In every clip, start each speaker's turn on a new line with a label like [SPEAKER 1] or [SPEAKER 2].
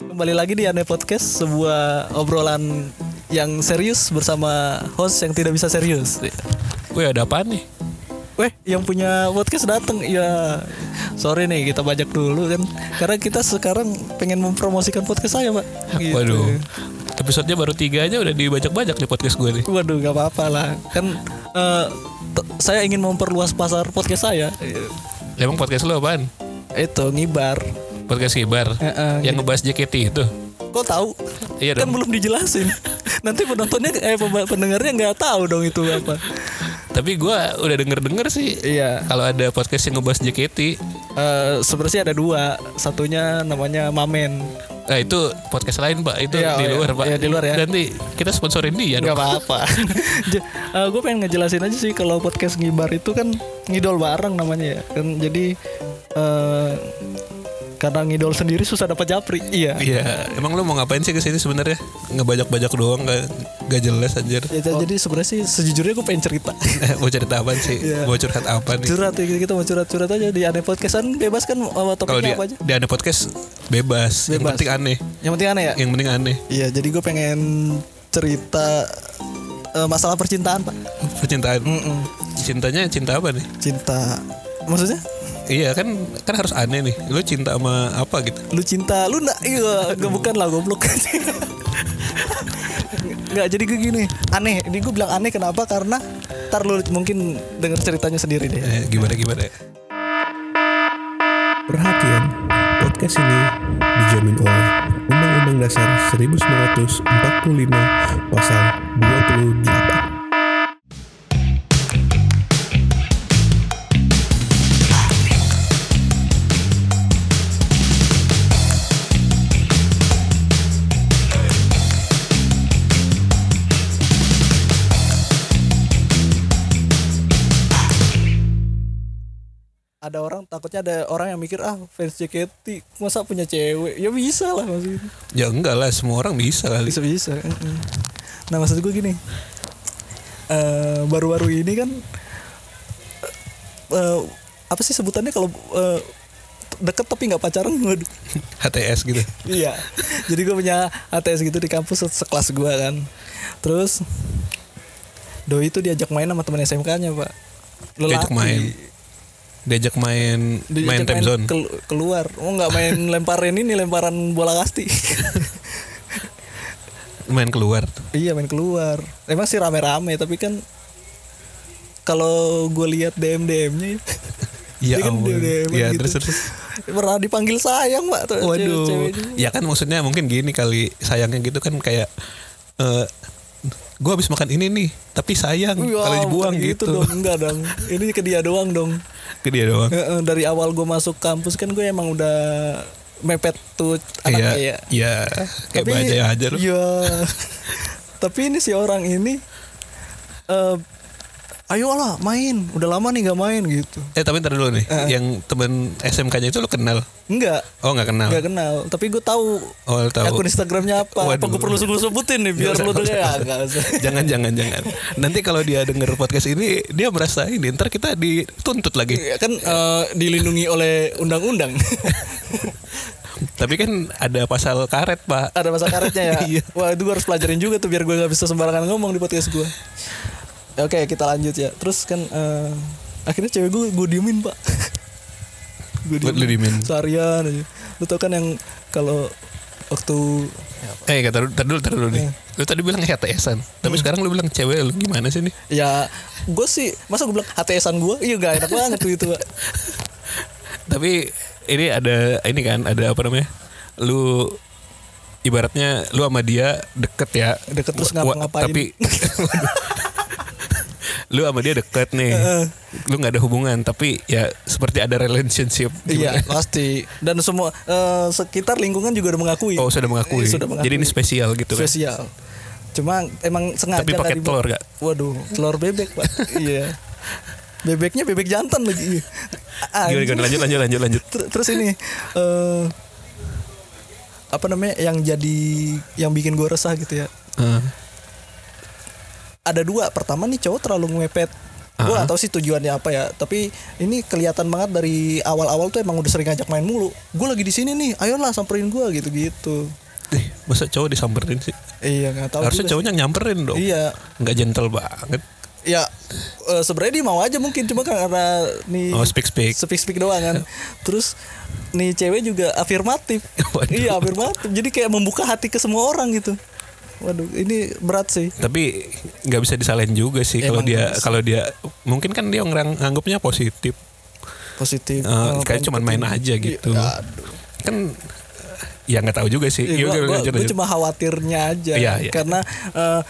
[SPEAKER 1] Kembali lagi di Aneh Podcast, sebuah obrolan yang serius bersama host yang tidak bisa serius.
[SPEAKER 2] Wih ada apa nih?
[SPEAKER 1] Weh, yang punya podcast datang ya. Sorry nih, kita bajak dulu kan. Karena kita sekarang pengen mempromosikan podcast saya, Pak. Gitu.
[SPEAKER 2] Waduh. Episodenya baru tiga aja udah dibajak-bajak di podcast gue nih.
[SPEAKER 1] Waduh, gak apa-apa lah. Kan eh, t- saya ingin memperluas pasar podcast saya.
[SPEAKER 2] Emang podcast lo apaan?
[SPEAKER 1] Itu ngibar.
[SPEAKER 2] Podcast Kibar.
[SPEAKER 1] Heeh, gitu.
[SPEAKER 2] yang ngebahas JKT itu.
[SPEAKER 1] Kok tahu?
[SPEAKER 2] Iya
[SPEAKER 1] kan
[SPEAKER 2] dong.
[SPEAKER 1] belum dijelasin. Nanti penontonnya eh pem- pendengarnya nggak tahu dong itu apa.
[SPEAKER 2] Tapi gue udah denger-denger sih.
[SPEAKER 1] Iya.
[SPEAKER 2] Kalau ada podcast yang ngebahas JKT,
[SPEAKER 1] Eh, sebenarnya ada dua. Satunya namanya Mamen.
[SPEAKER 2] nah itu podcast lain pak. Itu
[SPEAKER 1] Iya, oh
[SPEAKER 2] di
[SPEAKER 1] iya.
[SPEAKER 2] luar pak.
[SPEAKER 1] Iya, di luar ya.
[SPEAKER 2] Nanti kita sponsorin dia
[SPEAKER 1] Nggak
[SPEAKER 2] dong.
[SPEAKER 1] apa-apa. gue pengen ngejelasin aja sih kalau podcast ngibar itu kan ngidol bareng namanya ya. Kan jadi eh karena ngidol sendiri susah dapat japri. Iya.
[SPEAKER 2] Iya. Emang lo mau ngapain sih kesini sebenarnya? Ngebajak-bajak doang gak, gak jelas anjir.
[SPEAKER 1] Ya, Jadi sebenarnya sih sejujurnya gue pengen cerita.
[SPEAKER 2] mau cerita apa sih?
[SPEAKER 1] Iya.
[SPEAKER 2] Mau curhat apa nih?
[SPEAKER 1] curhat ya, kita mau curhat-curhat aja di aneh podcast kan bebas kan eh,
[SPEAKER 2] Kalau
[SPEAKER 1] topiknya
[SPEAKER 2] dia,
[SPEAKER 1] apa aja.
[SPEAKER 2] dia ada podcast bebas. Yang
[SPEAKER 1] Bebas.
[SPEAKER 2] penting aneh.
[SPEAKER 1] Yang penting aneh ya.
[SPEAKER 2] Yang penting aneh.
[SPEAKER 1] Iya, jadi gue pengen cerita eh, masalah percintaan, Pak.
[SPEAKER 2] Percintaan. mm, Cintanya cinta apa nih?
[SPEAKER 1] Cinta. Maksudnya?
[SPEAKER 2] Iya kan kan harus aneh nih. Lu cinta sama apa gitu?
[SPEAKER 1] Lu cinta, lu enggak iya, enggak bukan lah goblok. Enggak, jadi gue gini, aneh. Ini gue bilang aneh kenapa? Karena ntar lu mungkin denger ceritanya sendiri deh.
[SPEAKER 2] Eh, gimana gimana?
[SPEAKER 3] Perhatian, podcast ini dijamin oleh Undang-Undang Dasar 1945 Pasal 28.
[SPEAKER 1] Ada orang takutnya ada orang yang mikir ah fans JKT masa punya cewek ya bisa lah maksudnya
[SPEAKER 2] Ya enggak lah, semua orang bisa kali.
[SPEAKER 1] bisa bisa. Nah maksud gue gini, eh, baru-baru ini kan eh, apa sih sebutannya kalau eh, deket tapi nggak pacaran? Waduh.
[SPEAKER 2] HTS gitu.
[SPEAKER 1] Iya. Jadi gue punya ATS gitu di kampus se- sekelas gue kan. Terus Doi itu diajak main sama teman SMK-nya pak.
[SPEAKER 2] Diajak main. Diajak main
[SPEAKER 1] Diajak
[SPEAKER 2] main time zone.
[SPEAKER 1] kel- keluar. Oh nggak main lemparin ini lemparan bola kasti.
[SPEAKER 2] Main keluar.
[SPEAKER 1] Iya main keluar. Emang sih rame-rame tapi kan kalau gue lihat DM DM-nya
[SPEAKER 2] Ya
[SPEAKER 1] Dia kan
[SPEAKER 2] ampun.
[SPEAKER 1] DM-an
[SPEAKER 2] Ya
[SPEAKER 1] gitu.
[SPEAKER 2] terus terus.
[SPEAKER 1] pernah dipanggil sayang pak tuh
[SPEAKER 2] Waduh.
[SPEAKER 1] cewek-ceweknya.
[SPEAKER 2] Ya kan maksudnya mungkin gini kali sayangnya gitu kan kayak eh gua habis makan ini nih, tapi sayang
[SPEAKER 1] Wah,
[SPEAKER 2] kalau dibuang
[SPEAKER 1] bukan
[SPEAKER 2] gitu.
[SPEAKER 1] dong enggak dong. Ini ke dia doang dong.
[SPEAKER 2] Ke dia doang.
[SPEAKER 1] Heeh, Dari awal gue masuk kampus kan gue emang udah mepet tuh anaknya ya.
[SPEAKER 2] Iya. Iya. Kayak baja aja lu.
[SPEAKER 1] Iya. Tapi ini si orang ini eh ayolah main. Udah lama nih nggak main gitu.
[SPEAKER 2] Eh tapi ntar dulu nih,
[SPEAKER 1] Heeh.
[SPEAKER 2] yang temen SMK-nya itu lo kenal?
[SPEAKER 1] Enggak.
[SPEAKER 2] Oh nggak kenal?
[SPEAKER 1] Nggak kenal. Tapi gue tahu
[SPEAKER 2] Oh lo tahu.
[SPEAKER 1] akun Instagramnya apa. Apa
[SPEAKER 2] Waduh.
[SPEAKER 1] gue perlu gue sebutin nih biar
[SPEAKER 2] Nggak
[SPEAKER 1] lu
[SPEAKER 2] usah,
[SPEAKER 1] tuh
[SPEAKER 2] nggak
[SPEAKER 1] ya
[SPEAKER 2] usah.
[SPEAKER 1] nggak usah.
[SPEAKER 2] jangan jangan jangan. Nanti kalau dia denger podcast ini dia merasa ini ntar kita dituntut lagi.
[SPEAKER 1] Ya kan eh, dilindungi oleh undang-undang.
[SPEAKER 2] Tapi kan ada pasal karet pak.
[SPEAKER 1] ada masa karetnya ya.
[SPEAKER 2] Iya.
[SPEAKER 1] Wah, itu gue harus pelajarin juga tuh biar gue gak bisa sembarangan ngomong di podcast gue. Oke, kita lanjut ya. Terus kan eh, akhirnya cewek gue gue diemin, Pak. gue
[SPEAKER 2] Buat lu diemin.
[SPEAKER 1] Seharian aja. Lu tau kan yang kalau waktu
[SPEAKER 2] Eh kata ntar dulu ntar dulu nih.
[SPEAKER 1] Iya. Hmm.
[SPEAKER 2] Lu tadi bilang HTSan, tapi sekarang lu bilang cewek lu gimana sih nih?
[SPEAKER 1] ya gue sih masa gue bilang HTSan gue iya gak enak banget tuh itu Pak.
[SPEAKER 2] Tapi ini ada ini kan ada apa namanya? Lu ibaratnya lu sama dia deket ya.
[SPEAKER 1] Deket terus
[SPEAKER 2] Wa- wa-
[SPEAKER 1] ngapa-ngapain.
[SPEAKER 2] Tapi lu sama dia deket nih. lu nggak ada hubungan tapi ya seperti ada relationship.
[SPEAKER 1] iya
[SPEAKER 2] Gimana?
[SPEAKER 1] pasti dan semua eh, sekitar lingkungan juga udah mengakui
[SPEAKER 2] Oh sudah mengakui.
[SPEAKER 1] Eh, sudah mengakui.
[SPEAKER 2] Jadi ini spesial gitu kan.
[SPEAKER 1] spesial cuma emang sengaja
[SPEAKER 2] Tapi pakai
[SPEAKER 1] nggak dibuat.
[SPEAKER 2] telur gak?
[SPEAKER 1] Waduh, telur bebek pak. iya. Bebeknya bebek jantan lagi. A-
[SPEAKER 2] Gimana,
[SPEAKER 1] anjing.
[SPEAKER 2] gimana? Lanjut lanjut lanjut lanjut.
[SPEAKER 1] Ter- Terus ini eh apa namanya yang jadi yang bikin gue resah gitu ya.
[SPEAKER 2] Heeh.
[SPEAKER 1] Ada dua. Pertama nih cowok terlalu ngepet. Gue
[SPEAKER 2] Ah.
[SPEAKER 1] gak tau sih tujuannya apa ya. Tapi ini kelihatan banget dari awal-awal tuh emang udah sering ngajak main mulu. Gue lagi di sini nih. Ayolah samperin gue gitu-gitu.
[SPEAKER 2] masa cowok disamperin sih
[SPEAKER 1] Iya nggak tahu. juga
[SPEAKER 2] harusnya
[SPEAKER 1] sih.
[SPEAKER 2] cowoknya nyamperin dong
[SPEAKER 1] Iya.
[SPEAKER 2] nggak gentle banget
[SPEAKER 1] Ya eh, sebenarnya dia mau aja mungkin cuma karena nih
[SPEAKER 2] oh speak speak
[SPEAKER 1] speak speak doang kan. Terus nih cewek juga afirmatif.
[SPEAKER 2] Waduh.
[SPEAKER 1] Iya afirmatif. Jadi kayak membuka hati ke semua orang gitu. Waduh, ini berat sih.
[SPEAKER 2] tapi nggak bisa disalahin juga sih kalau
[SPEAKER 1] Emang
[SPEAKER 2] dia
[SPEAKER 1] nggak bisa.
[SPEAKER 2] kalau dia mungkin kan dia ngerang anggapnya positif
[SPEAKER 1] Positif.
[SPEAKER 2] Eh,
[SPEAKER 1] Oh,
[SPEAKER 2] kayak cuma main aja gitu
[SPEAKER 1] Aduh.
[SPEAKER 2] kan ya nggak tahu juga sih
[SPEAKER 1] Iya,
[SPEAKER 2] Iya,
[SPEAKER 1] gua,
[SPEAKER 2] udah,
[SPEAKER 1] gua-
[SPEAKER 2] lanjut,
[SPEAKER 1] gua
[SPEAKER 2] lanjut.
[SPEAKER 1] cuma khawatirnya aja
[SPEAKER 2] Iya, iya.
[SPEAKER 1] karena eh,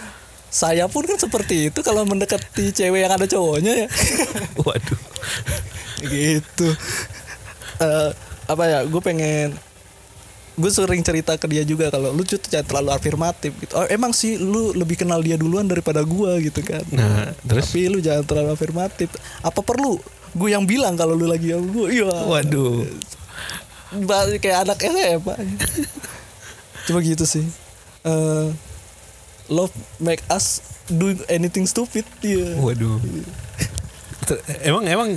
[SPEAKER 1] saya pun kan seperti itu kalau mendekati cewek yang ada cowoknya ya
[SPEAKER 2] waduh
[SPEAKER 1] gitu Eh, apa ya gue pengen gue sering cerita ke dia juga kalau lu tuh jangan terlalu afirmatif gitu oh, emang sih lu lebih kenal dia duluan daripada gua gitu kan
[SPEAKER 2] nah terus
[SPEAKER 1] tapi lu jangan terlalu afirmatif apa perlu gue yang bilang kalau lu lagi sama gue iya
[SPEAKER 2] waduh
[SPEAKER 1] Ba- kayak anak SMA cuma gitu sih Eh, love make us do anything stupid iya
[SPEAKER 2] waduh Ter- emang emang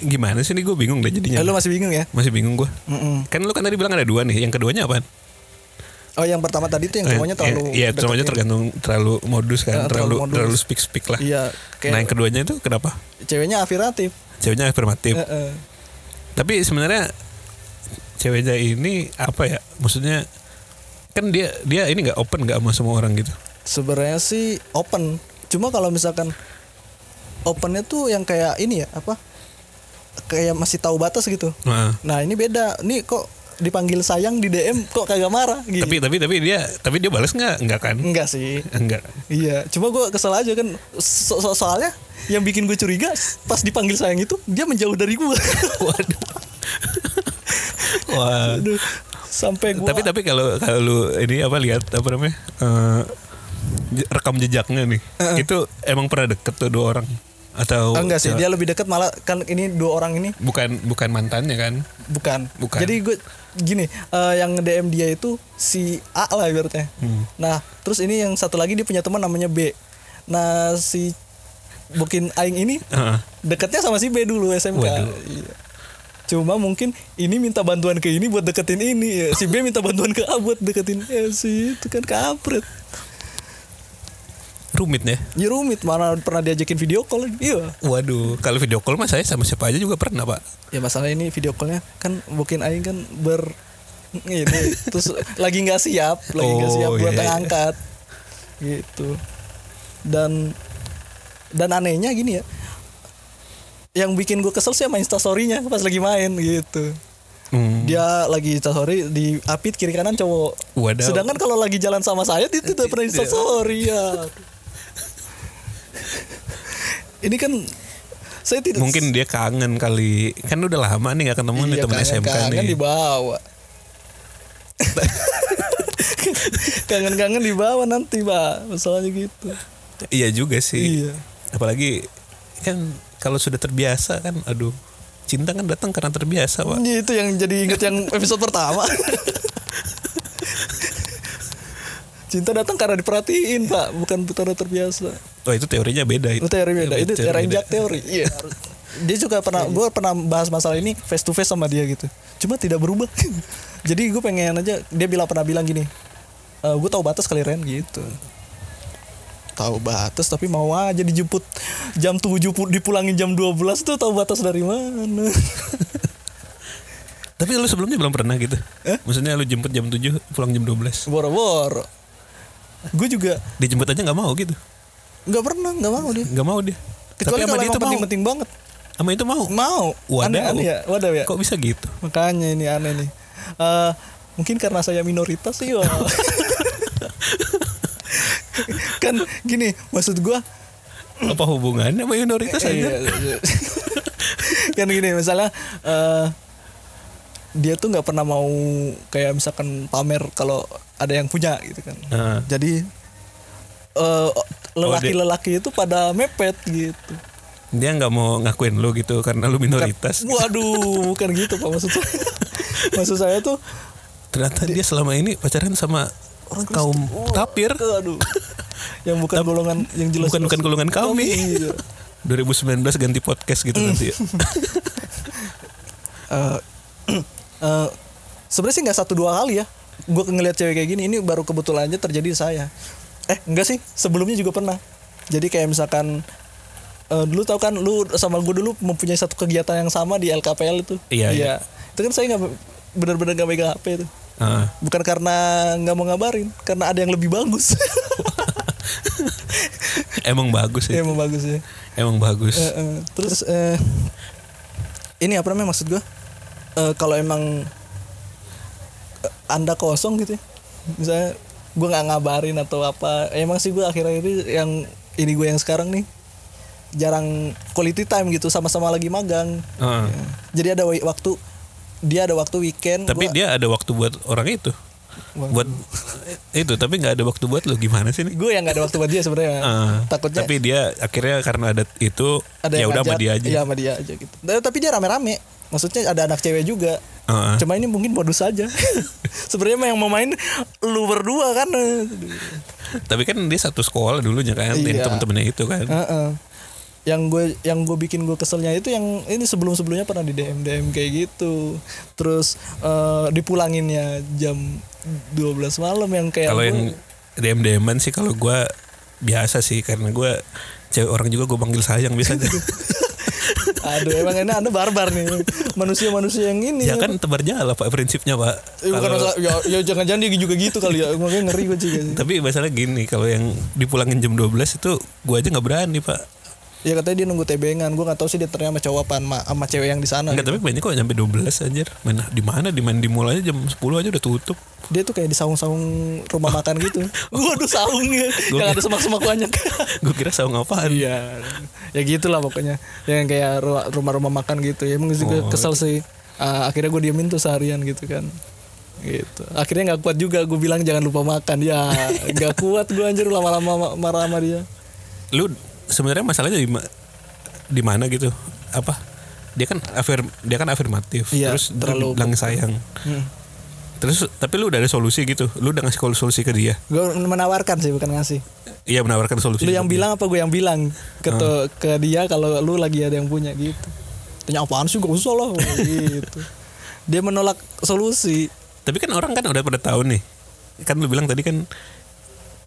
[SPEAKER 2] gimana sih nih gue bingung deh
[SPEAKER 1] Eh,
[SPEAKER 2] jadinya
[SPEAKER 1] lu masih bingung ya
[SPEAKER 2] masih bingung gue
[SPEAKER 1] Mm-mm.
[SPEAKER 2] kan lu kan tadi bilang ada dua nih yang keduanya apaan
[SPEAKER 1] oh yang pertama tadi tuh yang semuanya Eh, terlalu
[SPEAKER 2] iya
[SPEAKER 1] deketin.
[SPEAKER 2] semuanya tergantung terlalu modus
[SPEAKER 1] Eh, terlalu
[SPEAKER 2] kan terlalu
[SPEAKER 1] modus.
[SPEAKER 2] terlalu speak speak lah
[SPEAKER 1] iya
[SPEAKER 2] nah
[SPEAKER 1] kayak
[SPEAKER 2] yang keduanya itu kenapa
[SPEAKER 1] ceweknya afirmatif
[SPEAKER 2] ceweknya
[SPEAKER 1] Eh,
[SPEAKER 2] afirmatif
[SPEAKER 1] eh.
[SPEAKER 2] tapi sebenarnya ceweknya ini apa ya maksudnya kan dia dia ini nggak open nggak sama semua orang gitu
[SPEAKER 1] sebenarnya sih open cuma kalau misalkan opennya tuh yang kayak ini ya apa kayak masih tahu batas gitu
[SPEAKER 2] Nah,
[SPEAKER 1] nah ini beda nih kok dipanggil sayang di DM kok kagak marah gitu
[SPEAKER 2] tapi tapi tapi dia tapi dia balas nggak nggak kan
[SPEAKER 1] enggak sih
[SPEAKER 2] enggak
[SPEAKER 1] Iya, cuma gue kesel aja kan so so- soalnya yang bikin gue curiga pas dipanggil sayang itu dia menjauh dari gue.
[SPEAKER 2] waduh wah
[SPEAKER 1] Aduh, sampai gue.
[SPEAKER 2] tapi tapi kalau kalau lu ini apa lihat apa namanya eh, je- rekam jejaknya nih itu emang pernah deket tuh dua orang atau
[SPEAKER 1] Ah, enggak sih,
[SPEAKER 2] atau-
[SPEAKER 1] dia lebih dekat malah kan ini dua orang ini
[SPEAKER 2] bukan bukan mantannya kan
[SPEAKER 1] bukan.
[SPEAKER 2] Bukan.
[SPEAKER 1] Jadi gue gini, eh, yang DM dia itu si A lah ibaratnya.
[SPEAKER 2] Hmm.
[SPEAKER 1] Nah, terus ini yang satu lagi dia punya teman namanya B. Nah, si Bukin Aing ini
[SPEAKER 2] Heeh.
[SPEAKER 1] deketnya sama si B dulu SMK.
[SPEAKER 2] Waduh.
[SPEAKER 1] Iya. Cuma mungkin ini minta bantuan ke ini buat deketin ini, ya. si B minta bantuan ke A buat deketin ya, si itu kan kampret.
[SPEAKER 2] rumit ya
[SPEAKER 1] Ya rumit mana pernah diajakin video call? Iya.
[SPEAKER 2] waduh kalau video call mah saya sama siapa aja juga pernah pak
[SPEAKER 1] Ya masalah ini video callnya kan bukin aing kan ber gitu. terus lagi nggak siap, lagi nggak
[SPEAKER 2] Oh,
[SPEAKER 1] siap buat
[SPEAKER 2] iya, iya.
[SPEAKER 1] angkat. Gitu. Dan dan anehnya gini ya. Yang bikin gue kesel sih sama instastory-nya pas lagi main gitu.
[SPEAKER 2] Hmm.
[SPEAKER 1] dia lagi instastory di apit kiri kanan cowok
[SPEAKER 2] Wadaw.
[SPEAKER 1] sedangkan kalau lagi jalan sama saya dia tidak
[SPEAKER 2] iya.
[SPEAKER 1] pernah instastory ya ini kan saya tidak
[SPEAKER 2] mungkin dia kangen kali kan udah lama nih gak ketemu nih
[SPEAKER 1] Iya,
[SPEAKER 2] temen
[SPEAKER 1] kangen-
[SPEAKER 2] SMK
[SPEAKER 1] kangen
[SPEAKER 2] nih
[SPEAKER 1] dibawa kangen-kangen dibawa nanti pak masalahnya gitu
[SPEAKER 2] iya juga sih
[SPEAKER 1] iya
[SPEAKER 2] apalagi kan kalau sudah terbiasa kan aduh cinta kan datang karena terbiasa pak
[SPEAKER 1] Iya, itu yang jadi inget yang episode pertama. Cinta datang karena diperhatiin, Pak, bukan putaran terbiasa.
[SPEAKER 2] oh itu teorinya beda
[SPEAKER 1] Itu teori beda. Itu teori
[SPEAKER 2] teori Iya, beda. Iya,
[SPEAKER 1] injak teori. Iya. Dia juga pernah, gue pernah bahas masalah ini face to face sama dia gitu. Cuma tidak berubah. Jadi gue pengen aja dia bilang pernah bilang gini, e, gue tahu batas kali Ren gitu. Tahu batas tapi mau aja dijemput jam 7 pu- dipulangin jam 12 tuh tahu batas dari mana?
[SPEAKER 2] tapi lu sebelumnya belum pernah gitu maksudnya lu jemput jam 7 pulang jam 12
[SPEAKER 1] Boro-boro. Gue juga
[SPEAKER 2] dijemput aja nggak mau gitu
[SPEAKER 1] nggak pernah, nggak mau dia.
[SPEAKER 2] nggak mau dia
[SPEAKER 1] Kecuali kalau
[SPEAKER 2] tapi sama dia
[SPEAKER 1] emang
[SPEAKER 2] itu mau
[SPEAKER 1] penting-penting banget.
[SPEAKER 2] sama itu mau
[SPEAKER 1] Mau.
[SPEAKER 2] Wadaw.
[SPEAKER 1] Aneh, aneh ya, wadaw ya.
[SPEAKER 2] kok bisa gitu
[SPEAKER 1] Makanya ini aneh nih. Eh mungkin karena saya minoritas sih. Wak. kan gini, maksud gua
[SPEAKER 2] apa hubungannya mayoritas
[SPEAKER 1] Iya,
[SPEAKER 2] aja
[SPEAKER 1] iya, iya. kan gini misalnya eh, dia tuh nggak pernah mau kayak misalkan pamer kalau ada yang punya gitu kan
[SPEAKER 2] Heeh.
[SPEAKER 1] jadi eh, lelaki-lelaki itu pada mepet gitu
[SPEAKER 2] dia nggak mau ngakuin lu gitu karena lu minoritas
[SPEAKER 1] waduh bukan gitu pak maksud saya maksud saya tuh
[SPEAKER 2] ternyata dia selama ini pacaran sama
[SPEAKER 1] Orang Kristen. Oh.
[SPEAKER 2] kaum tapir
[SPEAKER 1] aduh yang bukan golongan yang jelas
[SPEAKER 2] bukan bukan golongan kami
[SPEAKER 1] Iya.
[SPEAKER 2] 2019 ganti podcast gitu nanti ya.
[SPEAKER 1] Eh, eh, sebenarnya sih nggak satu dua kali ya gue ngelihat cewek kayak gini ini baru kebetulan aja terjadi di saya eh enggak sih sebelumnya juga pernah jadi kayak misalkan eh, dulu tau kan lu sama gue dulu mempunyai satu kegiatan yang sama di LKPL itu
[SPEAKER 2] Iya, iya.
[SPEAKER 1] itu kan saya nggak benar-benar nggak megang HP itu
[SPEAKER 2] Ah.
[SPEAKER 1] bukan karena nggak mau ngabarin karena ada yang lebih bagus
[SPEAKER 2] emang bagus
[SPEAKER 1] ya
[SPEAKER 2] ya.
[SPEAKER 1] emang bagus ya
[SPEAKER 2] Emang bagus.
[SPEAKER 1] Eh, eh, terus eh, ini apa namanya maksud gue Eh, kalau emang eh, anda kosong gitu ya, misalnya gue nggak ngabarin atau apa emang sih gue akhir-akhir ini yang ini gue yang sekarang nih jarang quality time gitu sama-sama lagi magang Ya.
[SPEAKER 2] Ah.
[SPEAKER 1] iya. jadi ada wa- waktu dia ada waktu weekend
[SPEAKER 2] Tapi
[SPEAKER 1] gua-
[SPEAKER 2] dia ada waktu buat orang itu.
[SPEAKER 1] Waktu.
[SPEAKER 2] Buat itu tapi nggak ada waktu buat lo gimana sih nih?
[SPEAKER 1] gue yang nggak ada waktu buat dia sebenarnya
[SPEAKER 2] Ah,
[SPEAKER 1] Eh, takutnya
[SPEAKER 2] tapi dia akhirnya karena ada itu
[SPEAKER 1] ada
[SPEAKER 2] ya
[SPEAKER 1] yang
[SPEAKER 2] udah sama
[SPEAKER 1] ngajak,
[SPEAKER 2] dia aja.
[SPEAKER 1] iya, sama dia aja gitu Dan- tapi dia rame-rame maksudnya ada anak cewek juga
[SPEAKER 2] Heeh.
[SPEAKER 1] cuma ini mungkin modus aja sebenarnya mah yang mau main lu berdua kan
[SPEAKER 2] Tapi kan dia satu sekolah dulunya kan, ini
[SPEAKER 1] Iya.
[SPEAKER 2] teman-temannya itu kan.
[SPEAKER 1] Heeh. yang gue yang gue bikin gue keselnya itu yang ini sebelum sebelumnya pernah di dm dm kayak gitu terus eh, dipulanginnya jam 12 malam yang kayak
[SPEAKER 2] Kalau
[SPEAKER 1] gue-
[SPEAKER 2] yang DM DM-an sih kalau gua biasa sih karena gua cewek orang juga gue panggil sayang biasanya.
[SPEAKER 1] aduh emang ini anda barbar nih manusia manusia yang ini
[SPEAKER 2] ya kan tebar jala pak prinsipnya pak.
[SPEAKER 1] Eh, bukan
[SPEAKER 2] Kalau-
[SPEAKER 1] masalah- ya, ya jangan-jangan dia juga gitu kali ya makanya ngeri gue juga sih.
[SPEAKER 2] Tapi masalah gini kalau yang dipulangin jam 12 itu gua aja nggak berani pak.
[SPEAKER 1] Ya katanya dia nunggu tebengan, gue gak tahu sih dia ternyata sama cowok apa sama, sama cewek yang di sana.
[SPEAKER 2] Enggak tapi banyak kok nyampe 12 anjir. Mana di mana di mana dimulainya jam 10 aja udah tutup.
[SPEAKER 1] Dia tuh kayak di saung-saung rumah makan gitu. Waduh saungnya yang ada semak-semak banyak.
[SPEAKER 2] Gue kira saung apaan.
[SPEAKER 1] Iya. ya gitulah pokoknya. Yang kayak ru- rumah-rumah makan gitu. Ya emang juga kesel sih. Ah, akhirnya gue diemin tuh seharian gitu kan. Gitu. Akhirnya nggak kuat juga gue bilang jangan lupa makan. Ya nggak kuat gue anjir lama-lama ma- marah sama dia.
[SPEAKER 2] Lu sebenarnya masalahnya di ma- di mana gitu? Apa? Dia kan afir dia kan afirmatif.
[SPEAKER 1] Iya,
[SPEAKER 2] terus dia
[SPEAKER 1] terlalu-
[SPEAKER 2] bilang sayang.
[SPEAKER 1] Hmm.
[SPEAKER 2] Terus tapi lu udah ada solusi gitu. Lu udah ngasih kol- solusi ke dia.
[SPEAKER 1] Gue menawarkan sih bukan ngasih.
[SPEAKER 2] Iya menawarkan solusi.
[SPEAKER 1] lu yang
[SPEAKER 2] ke dia.
[SPEAKER 1] bilang apa gue yang bilang ke
[SPEAKER 2] Ah.
[SPEAKER 1] to- ke dia kalau lu lagi ada yang punya gitu tanya apaan sih gak usah lah gitu dia menolak solusi
[SPEAKER 2] Tapi kan orang kan udah pada tahu nih. Kan lu bilang tadi kan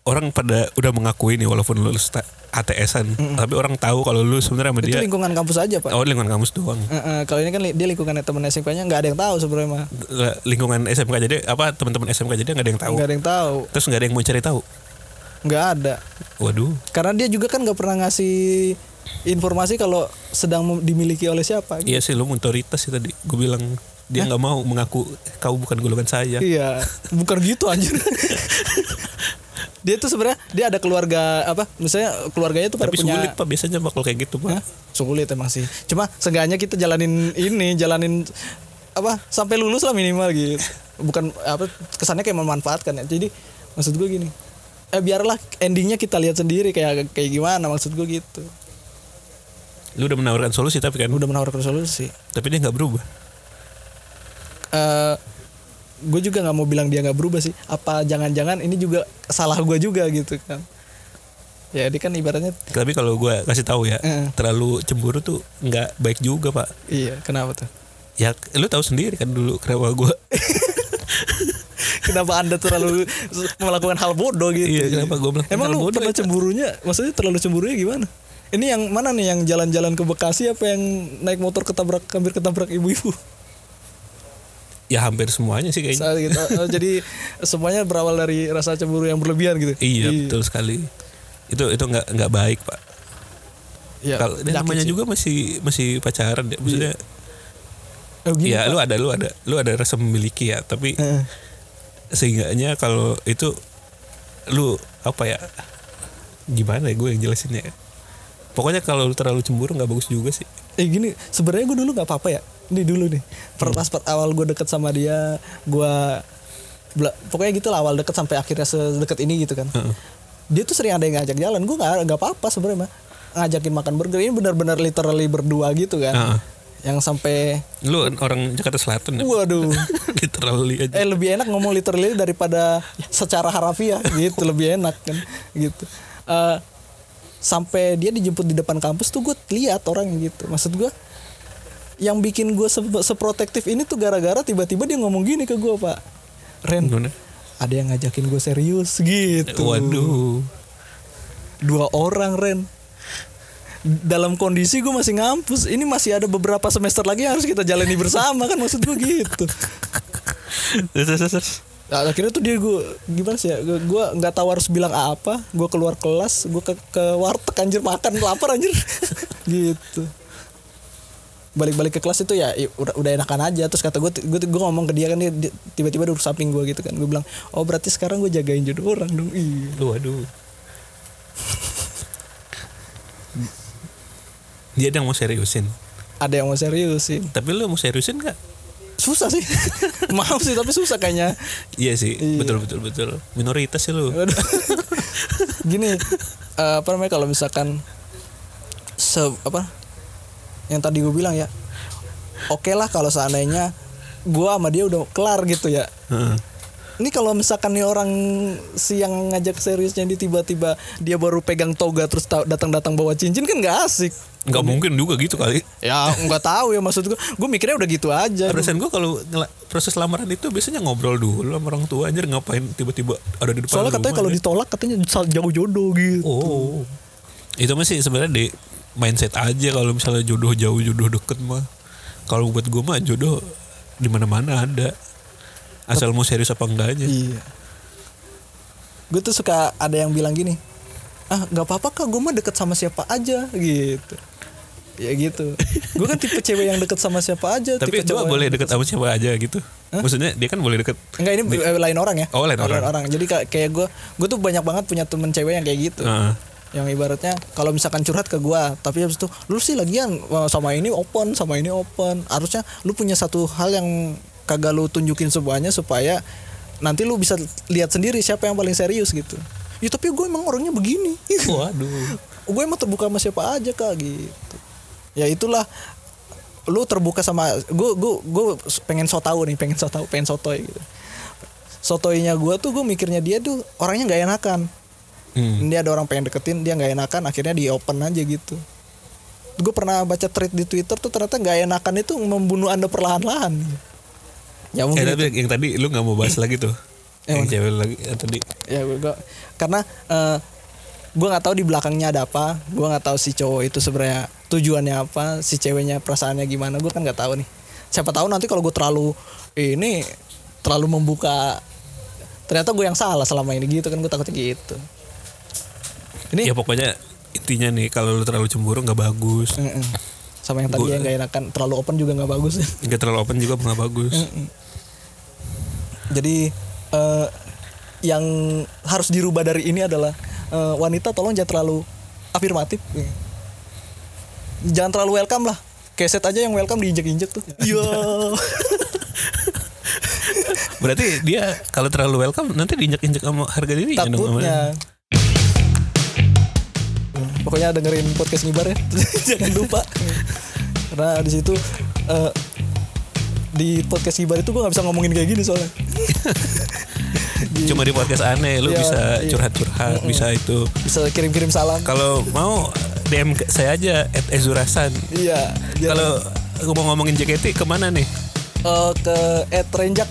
[SPEAKER 2] orang pada udah mengakui nih walaupun lu sta- ATS-an, tapi orang tahu kalau lu sebenarnya sama
[SPEAKER 1] itu
[SPEAKER 2] dia
[SPEAKER 1] lingkungan kampus aja pak
[SPEAKER 2] oh lingkungan kampus doang.
[SPEAKER 1] Eh, eh, kalau ini kan li- dia lingkungan teman SMK nya nggak ada yang tahu sebenarnya mah
[SPEAKER 2] L- lingkungan SMK jadi apa teman-teman SMK jadi nggak ada yang tahu.
[SPEAKER 1] nggak ada yang tahu
[SPEAKER 2] Terus nggak ada yang mau cari tahu.
[SPEAKER 1] nggak ada
[SPEAKER 2] Waduh.
[SPEAKER 1] karena dia juga kan nggak pernah ngasih informasi kalau sedang mem- dimiliki oleh siapa gitu.
[SPEAKER 2] Iya sih lu minoritas sih tadi. Gue bilang dia nggak mau mengaku kau bukan golongan saya.
[SPEAKER 1] Iya, bukan gitu anjir. dia tuh sebenarnya dia ada keluarga apa? Misalnya keluarganya tuh pada
[SPEAKER 2] Tapi
[SPEAKER 1] punya
[SPEAKER 2] sulit pak biasanya bakal kayak gitu
[SPEAKER 1] Hah?
[SPEAKER 2] pak.
[SPEAKER 1] Sulit emang sih. Cuma seenggaknya kita jalanin ini, jalanin apa sampai lulus lah minimal gitu. Bukan apa kesannya kayak memanfaatkan ya. Jadi maksud gue gini. Eh biarlah endingnya kita lihat sendiri kayak kayak gimana maksud gue gitu.
[SPEAKER 2] Lu udah menawarkan solusi tapi kan
[SPEAKER 1] Udah menawarkan solusi.
[SPEAKER 2] tapi dia nggak berubah.
[SPEAKER 1] Eh gue juga nggak mau bilang dia nggak berubah sih. Apa jangan-jangan ini juga salah gue juga gitu kan. Ya, dia kan ibaratnya
[SPEAKER 2] Tapi kalau gue kasih tahu ya,
[SPEAKER 1] Heeh.
[SPEAKER 2] terlalu cemburu tuh nggak baik juga pak.
[SPEAKER 1] iya, kenapa tuh?
[SPEAKER 2] Ya lu tahu sendiri kan dulu kenapa gue.
[SPEAKER 1] Kenapa Anda terlalu melakukan hal bodoh gitu?
[SPEAKER 2] Iya, kenapa gua melakukan
[SPEAKER 1] Emang
[SPEAKER 2] hal
[SPEAKER 1] lu
[SPEAKER 2] bodoh
[SPEAKER 1] pernah
[SPEAKER 2] ya, Pak?
[SPEAKER 1] cemburunya? Maksudnya terlalu cemburunya gimana? Ini yang mana nih yang jalan-jalan ke Bekasi apa yang naik motor ketabrak hampir ketabrak ibu-ibu?
[SPEAKER 2] ya hampir semuanya sih kayaknya.
[SPEAKER 1] Saat gitu. Oh, Jadi semuanya berawal dari rasa cemburu yang berlebihan gitu.
[SPEAKER 2] Iya, betul sekali. Itu itu nggak nggak baik pak.
[SPEAKER 1] Iya,
[SPEAKER 2] Kalau dan
[SPEAKER 1] penyakit
[SPEAKER 2] namanya
[SPEAKER 1] sih.
[SPEAKER 2] juga masih masih pacaran ya. Maksudnya
[SPEAKER 1] Oh, gini, Eh.
[SPEAKER 2] ya
[SPEAKER 1] Pak.
[SPEAKER 2] lu ada lu ada lu ada rasa memiliki ya, tapi
[SPEAKER 1] Heeh.
[SPEAKER 2] sehingganya kalau itu lu apa ya? Gimana ya gue yang jelasinnya ya? Pokoknya kalau lu terlalu cemburu nggak bagus juga sih.
[SPEAKER 1] eh gini sebenarnya gue dulu nggak apa-apa ya ini dulu nih per, pas per- awal gue deket sama dia gue bela- pokoknya gitu lah awal deket sampai akhirnya sedekat ini gitu kan dia tuh sering ada yang ngajak jalan gue nggak nggak apa-apa sebenarnya mah ngajakin makan burger ini benar-benar literally berdua gitu kan
[SPEAKER 2] Heeh.
[SPEAKER 1] yang sampai
[SPEAKER 2] Lu orang Jakarta Selatan ya.
[SPEAKER 1] waduh
[SPEAKER 2] Literally aja.
[SPEAKER 1] eh lebih enak ngomong literally daripada secara harafiah gitu lebih enak kan gitu Eh, sampai dia dijemput di depan kampus tuh gue lihat orang gitu maksud gue yang bikin gue se- seprotektif ini tuh gara-gara tiba-tiba dia ngomong gini ke gue pak Ren
[SPEAKER 2] Gimana?
[SPEAKER 1] ada yang ngajakin gue serius gitu
[SPEAKER 2] Waduh.
[SPEAKER 1] dua orang Ren dalam kondisi gue masih ngampus ini masih ada beberapa semester lagi yang harus kita jalani bersama kan maksud gue gitu
[SPEAKER 2] Terus, terus, terus.
[SPEAKER 1] Nah, akhirnya tuh dia gue gimana sih ya gue gue nggak tahu harus bilang apa gue keluar kelas gue ke, ke warteg anjir makan lapar anjir gitu balik-balik ke kelas itu ya i- udah udah enakan aja terus kata gue gue gue ngomong ke dia kan dia dia tiba-tiba duduk samping gue gitu kan gue bilang oh berarti sekarang gue jagain jodoh orang dong iya
[SPEAKER 2] Lu, Waduh. Dia ada yang mau seriusin.
[SPEAKER 1] ada yang mau serius sih
[SPEAKER 2] Tapi lu mau seriusin gak?
[SPEAKER 1] susah sih maaf sih tapi susah kayaknya
[SPEAKER 2] Iya sih,
[SPEAKER 1] Iya.
[SPEAKER 2] betul betul betul. Minoritas sih lu.
[SPEAKER 1] Aduh. gini eh, apa namanya kalau misalkan se apa yang tadi gue bilang ya oke lah kalau seandainya gue sama dia udah kelar gitu ya
[SPEAKER 2] Heeh.
[SPEAKER 1] ini kalau misalkan nih orang si yang ngajak seriusnya ini tiba-tiba dia baru pegang toga terus ta- datang-datang bawa cincin kan nggak asik
[SPEAKER 2] Nggak mungkin juga gitu kali.
[SPEAKER 1] ya nggak tahu ya maksud gue gue mikirnya udah gitu aja
[SPEAKER 2] Perasaan gue kalau ngela- proses lamaran itu biasanya ngobrol dulu sama orang tua anjir ngapain tiba-tiba ada di depan
[SPEAKER 1] soalnya
[SPEAKER 2] rumah,
[SPEAKER 1] katanya kalau
[SPEAKER 2] ya.
[SPEAKER 1] ditolak katanya sal- jauh jodoh gitu
[SPEAKER 2] Oh. Itu masih sebenarnya di mindset aja kalau misalnya jodoh jauh jodoh deket mah. Kalau buat gue mah jodoh di mana-mana ada. Asal mau serius apa enggaknya.
[SPEAKER 1] Iya. Gue tuh suka ada yang bilang gini, ah nggak apa-apa kak, gue mah deket sama siapa aja gitu. Ya gitu. gue kan tipe cewek yang deket sama siapa aja.
[SPEAKER 2] Tapi
[SPEAKER 1] tipe
[SPEAKER 2] gue
[SPEAKER 1] cowok
[SPEAKER 2] boleh
[SPEAKER 1] yang-
[SPEAKER 2] deket sama siapa aja gitu. Maksudnya dia kan boleh deket.
[SPEAKER 1] Enggak ini eh, lain orang ya.
[SPEAKER 2] Oh, lain orang.
[SPEAKER 1] Jadi kayak- kayak gue, gue tuh banyak banget punya temen cewek yang kayak gitu.
[SPEAKER 2] Heeh.
[SPEAKER 1] Yang ibaratnya kalau misalkan curhat ke gue, tapi habis itu lu sih lagian eh, sama ini open, sama ini open. Harusnya lu punya satu hal yang kagak lu tunjukin semuanya supaya nanti lu bisa lihat sendiri siapa yang paling serius gitu. Ya tapi gue emang orangnya begini.
[SPEAKER 2] Waduh.
[SPEAKER 1] gue emang terbuka sama siapa aja kak gitu. Ya itulah lu terbuka sama gue gue gue pengen so tau nih pengen so tau pengen sotoy gitu sotoynya gue tuh gue mikirnya dia tuh orangnya nggak enakan
[SPEAKER 2] Hmm.
[SPEAKER 1] dia ada orang pengen deketin dia nggak enakan akhirnya di open aja gitu gue pernah baca thread di twitter tuh ternyata nggak enakan itu membunuh anda perlahan-lahan ya
[SPEAKER 2] Eh
[SPEAKER 1] mungkin
[SPEAKER 2] tapi yang tadi lu nggak mau
[SPEAKER 1] Hmm.
[SPEAKER 2] bahas lagi tuh.
[SPEAKER 1] Yang
[SPEAKER 2] Yang cewek lagi yang tadi.
[SPEAKER 1] ya gue gue- karena eh, gue nggak tahu di belakangnya ada apa gue nggak tahu si cowok itu sebenarnya tujuannya apa si ceweknya perasaannya gimana gue kan nggak tahu nih siapa tahu nanti kalau gue terlalu ini terlalu membuka ternyata gue yang salah selama ini gitu kan gue takutnya gitu ini
[SPEAKER 2] Ya pokoknya intinya nih kalau lu terlalu cemburu nggak bagus.
[SPEAKER 1] Mm-mm. sama yang tadi
[SPEAKER 2] Gua-
[SPEAKER 1] yang gak enakan terlalu open juga nggak bagus
[SPEAKER 2] Nggak terlalu open juga nggak bagus.
[SPEAKER 1] Hmm. jadi eh, yang harus dirubah dari ini adalah eh, wanita tolong jangan terlalu afirmatif jangan terlalu welcome lah keset aja yang welcome diinjek-injek tuh iya
[SPEAKER 2] Berarti dia kalau terlalu welcome nanti diinjak-injak sama harga diri ya
[SPEAKER 1] takutnya pokoknya dengerin podcast ngibar ya jangan lupa karena di situ eh, di podcast ngibar itu gue nggak bisa ngomongin kayak gini soalnya
[SPEAKER 2] Cuma di podcast aneh lu
[SPEAKER 1] Iya,
[SPEAKER 2] bisa
[SPEAKER 1] iya.
[SPEAKER 2] curhat-curhat, bisa itu.
[SPEAKER 1] bisa kirim-kirim salam
[SPEAKER 2] Kalau mau DM ke saya aja at Ezurasan.
[SPEAKER 1] iya biar-
[SPEAKER 2] Kalau aku mau ngomongin JKT kemana nih?
[SPEAKER 1] eh, ke at renjak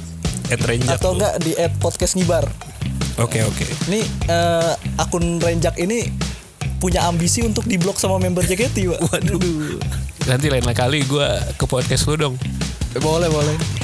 [SPEAKER 2] At Renjak.
[SPEAKER 1] atau
[SPEAKER 2] lu.
[SPEAKER 1] enggak di at podcast ngibar
[SPEAKER 2] Oke oke.
[SPEAKER 1] ini eh, akun renjak ini punya ambisi untuk diblok sama member JKT pak
[SPEAKER 2] Waduh. Nanti lain kali gue ke podcast lu dong.
[SPEAKER 1] boleh boleh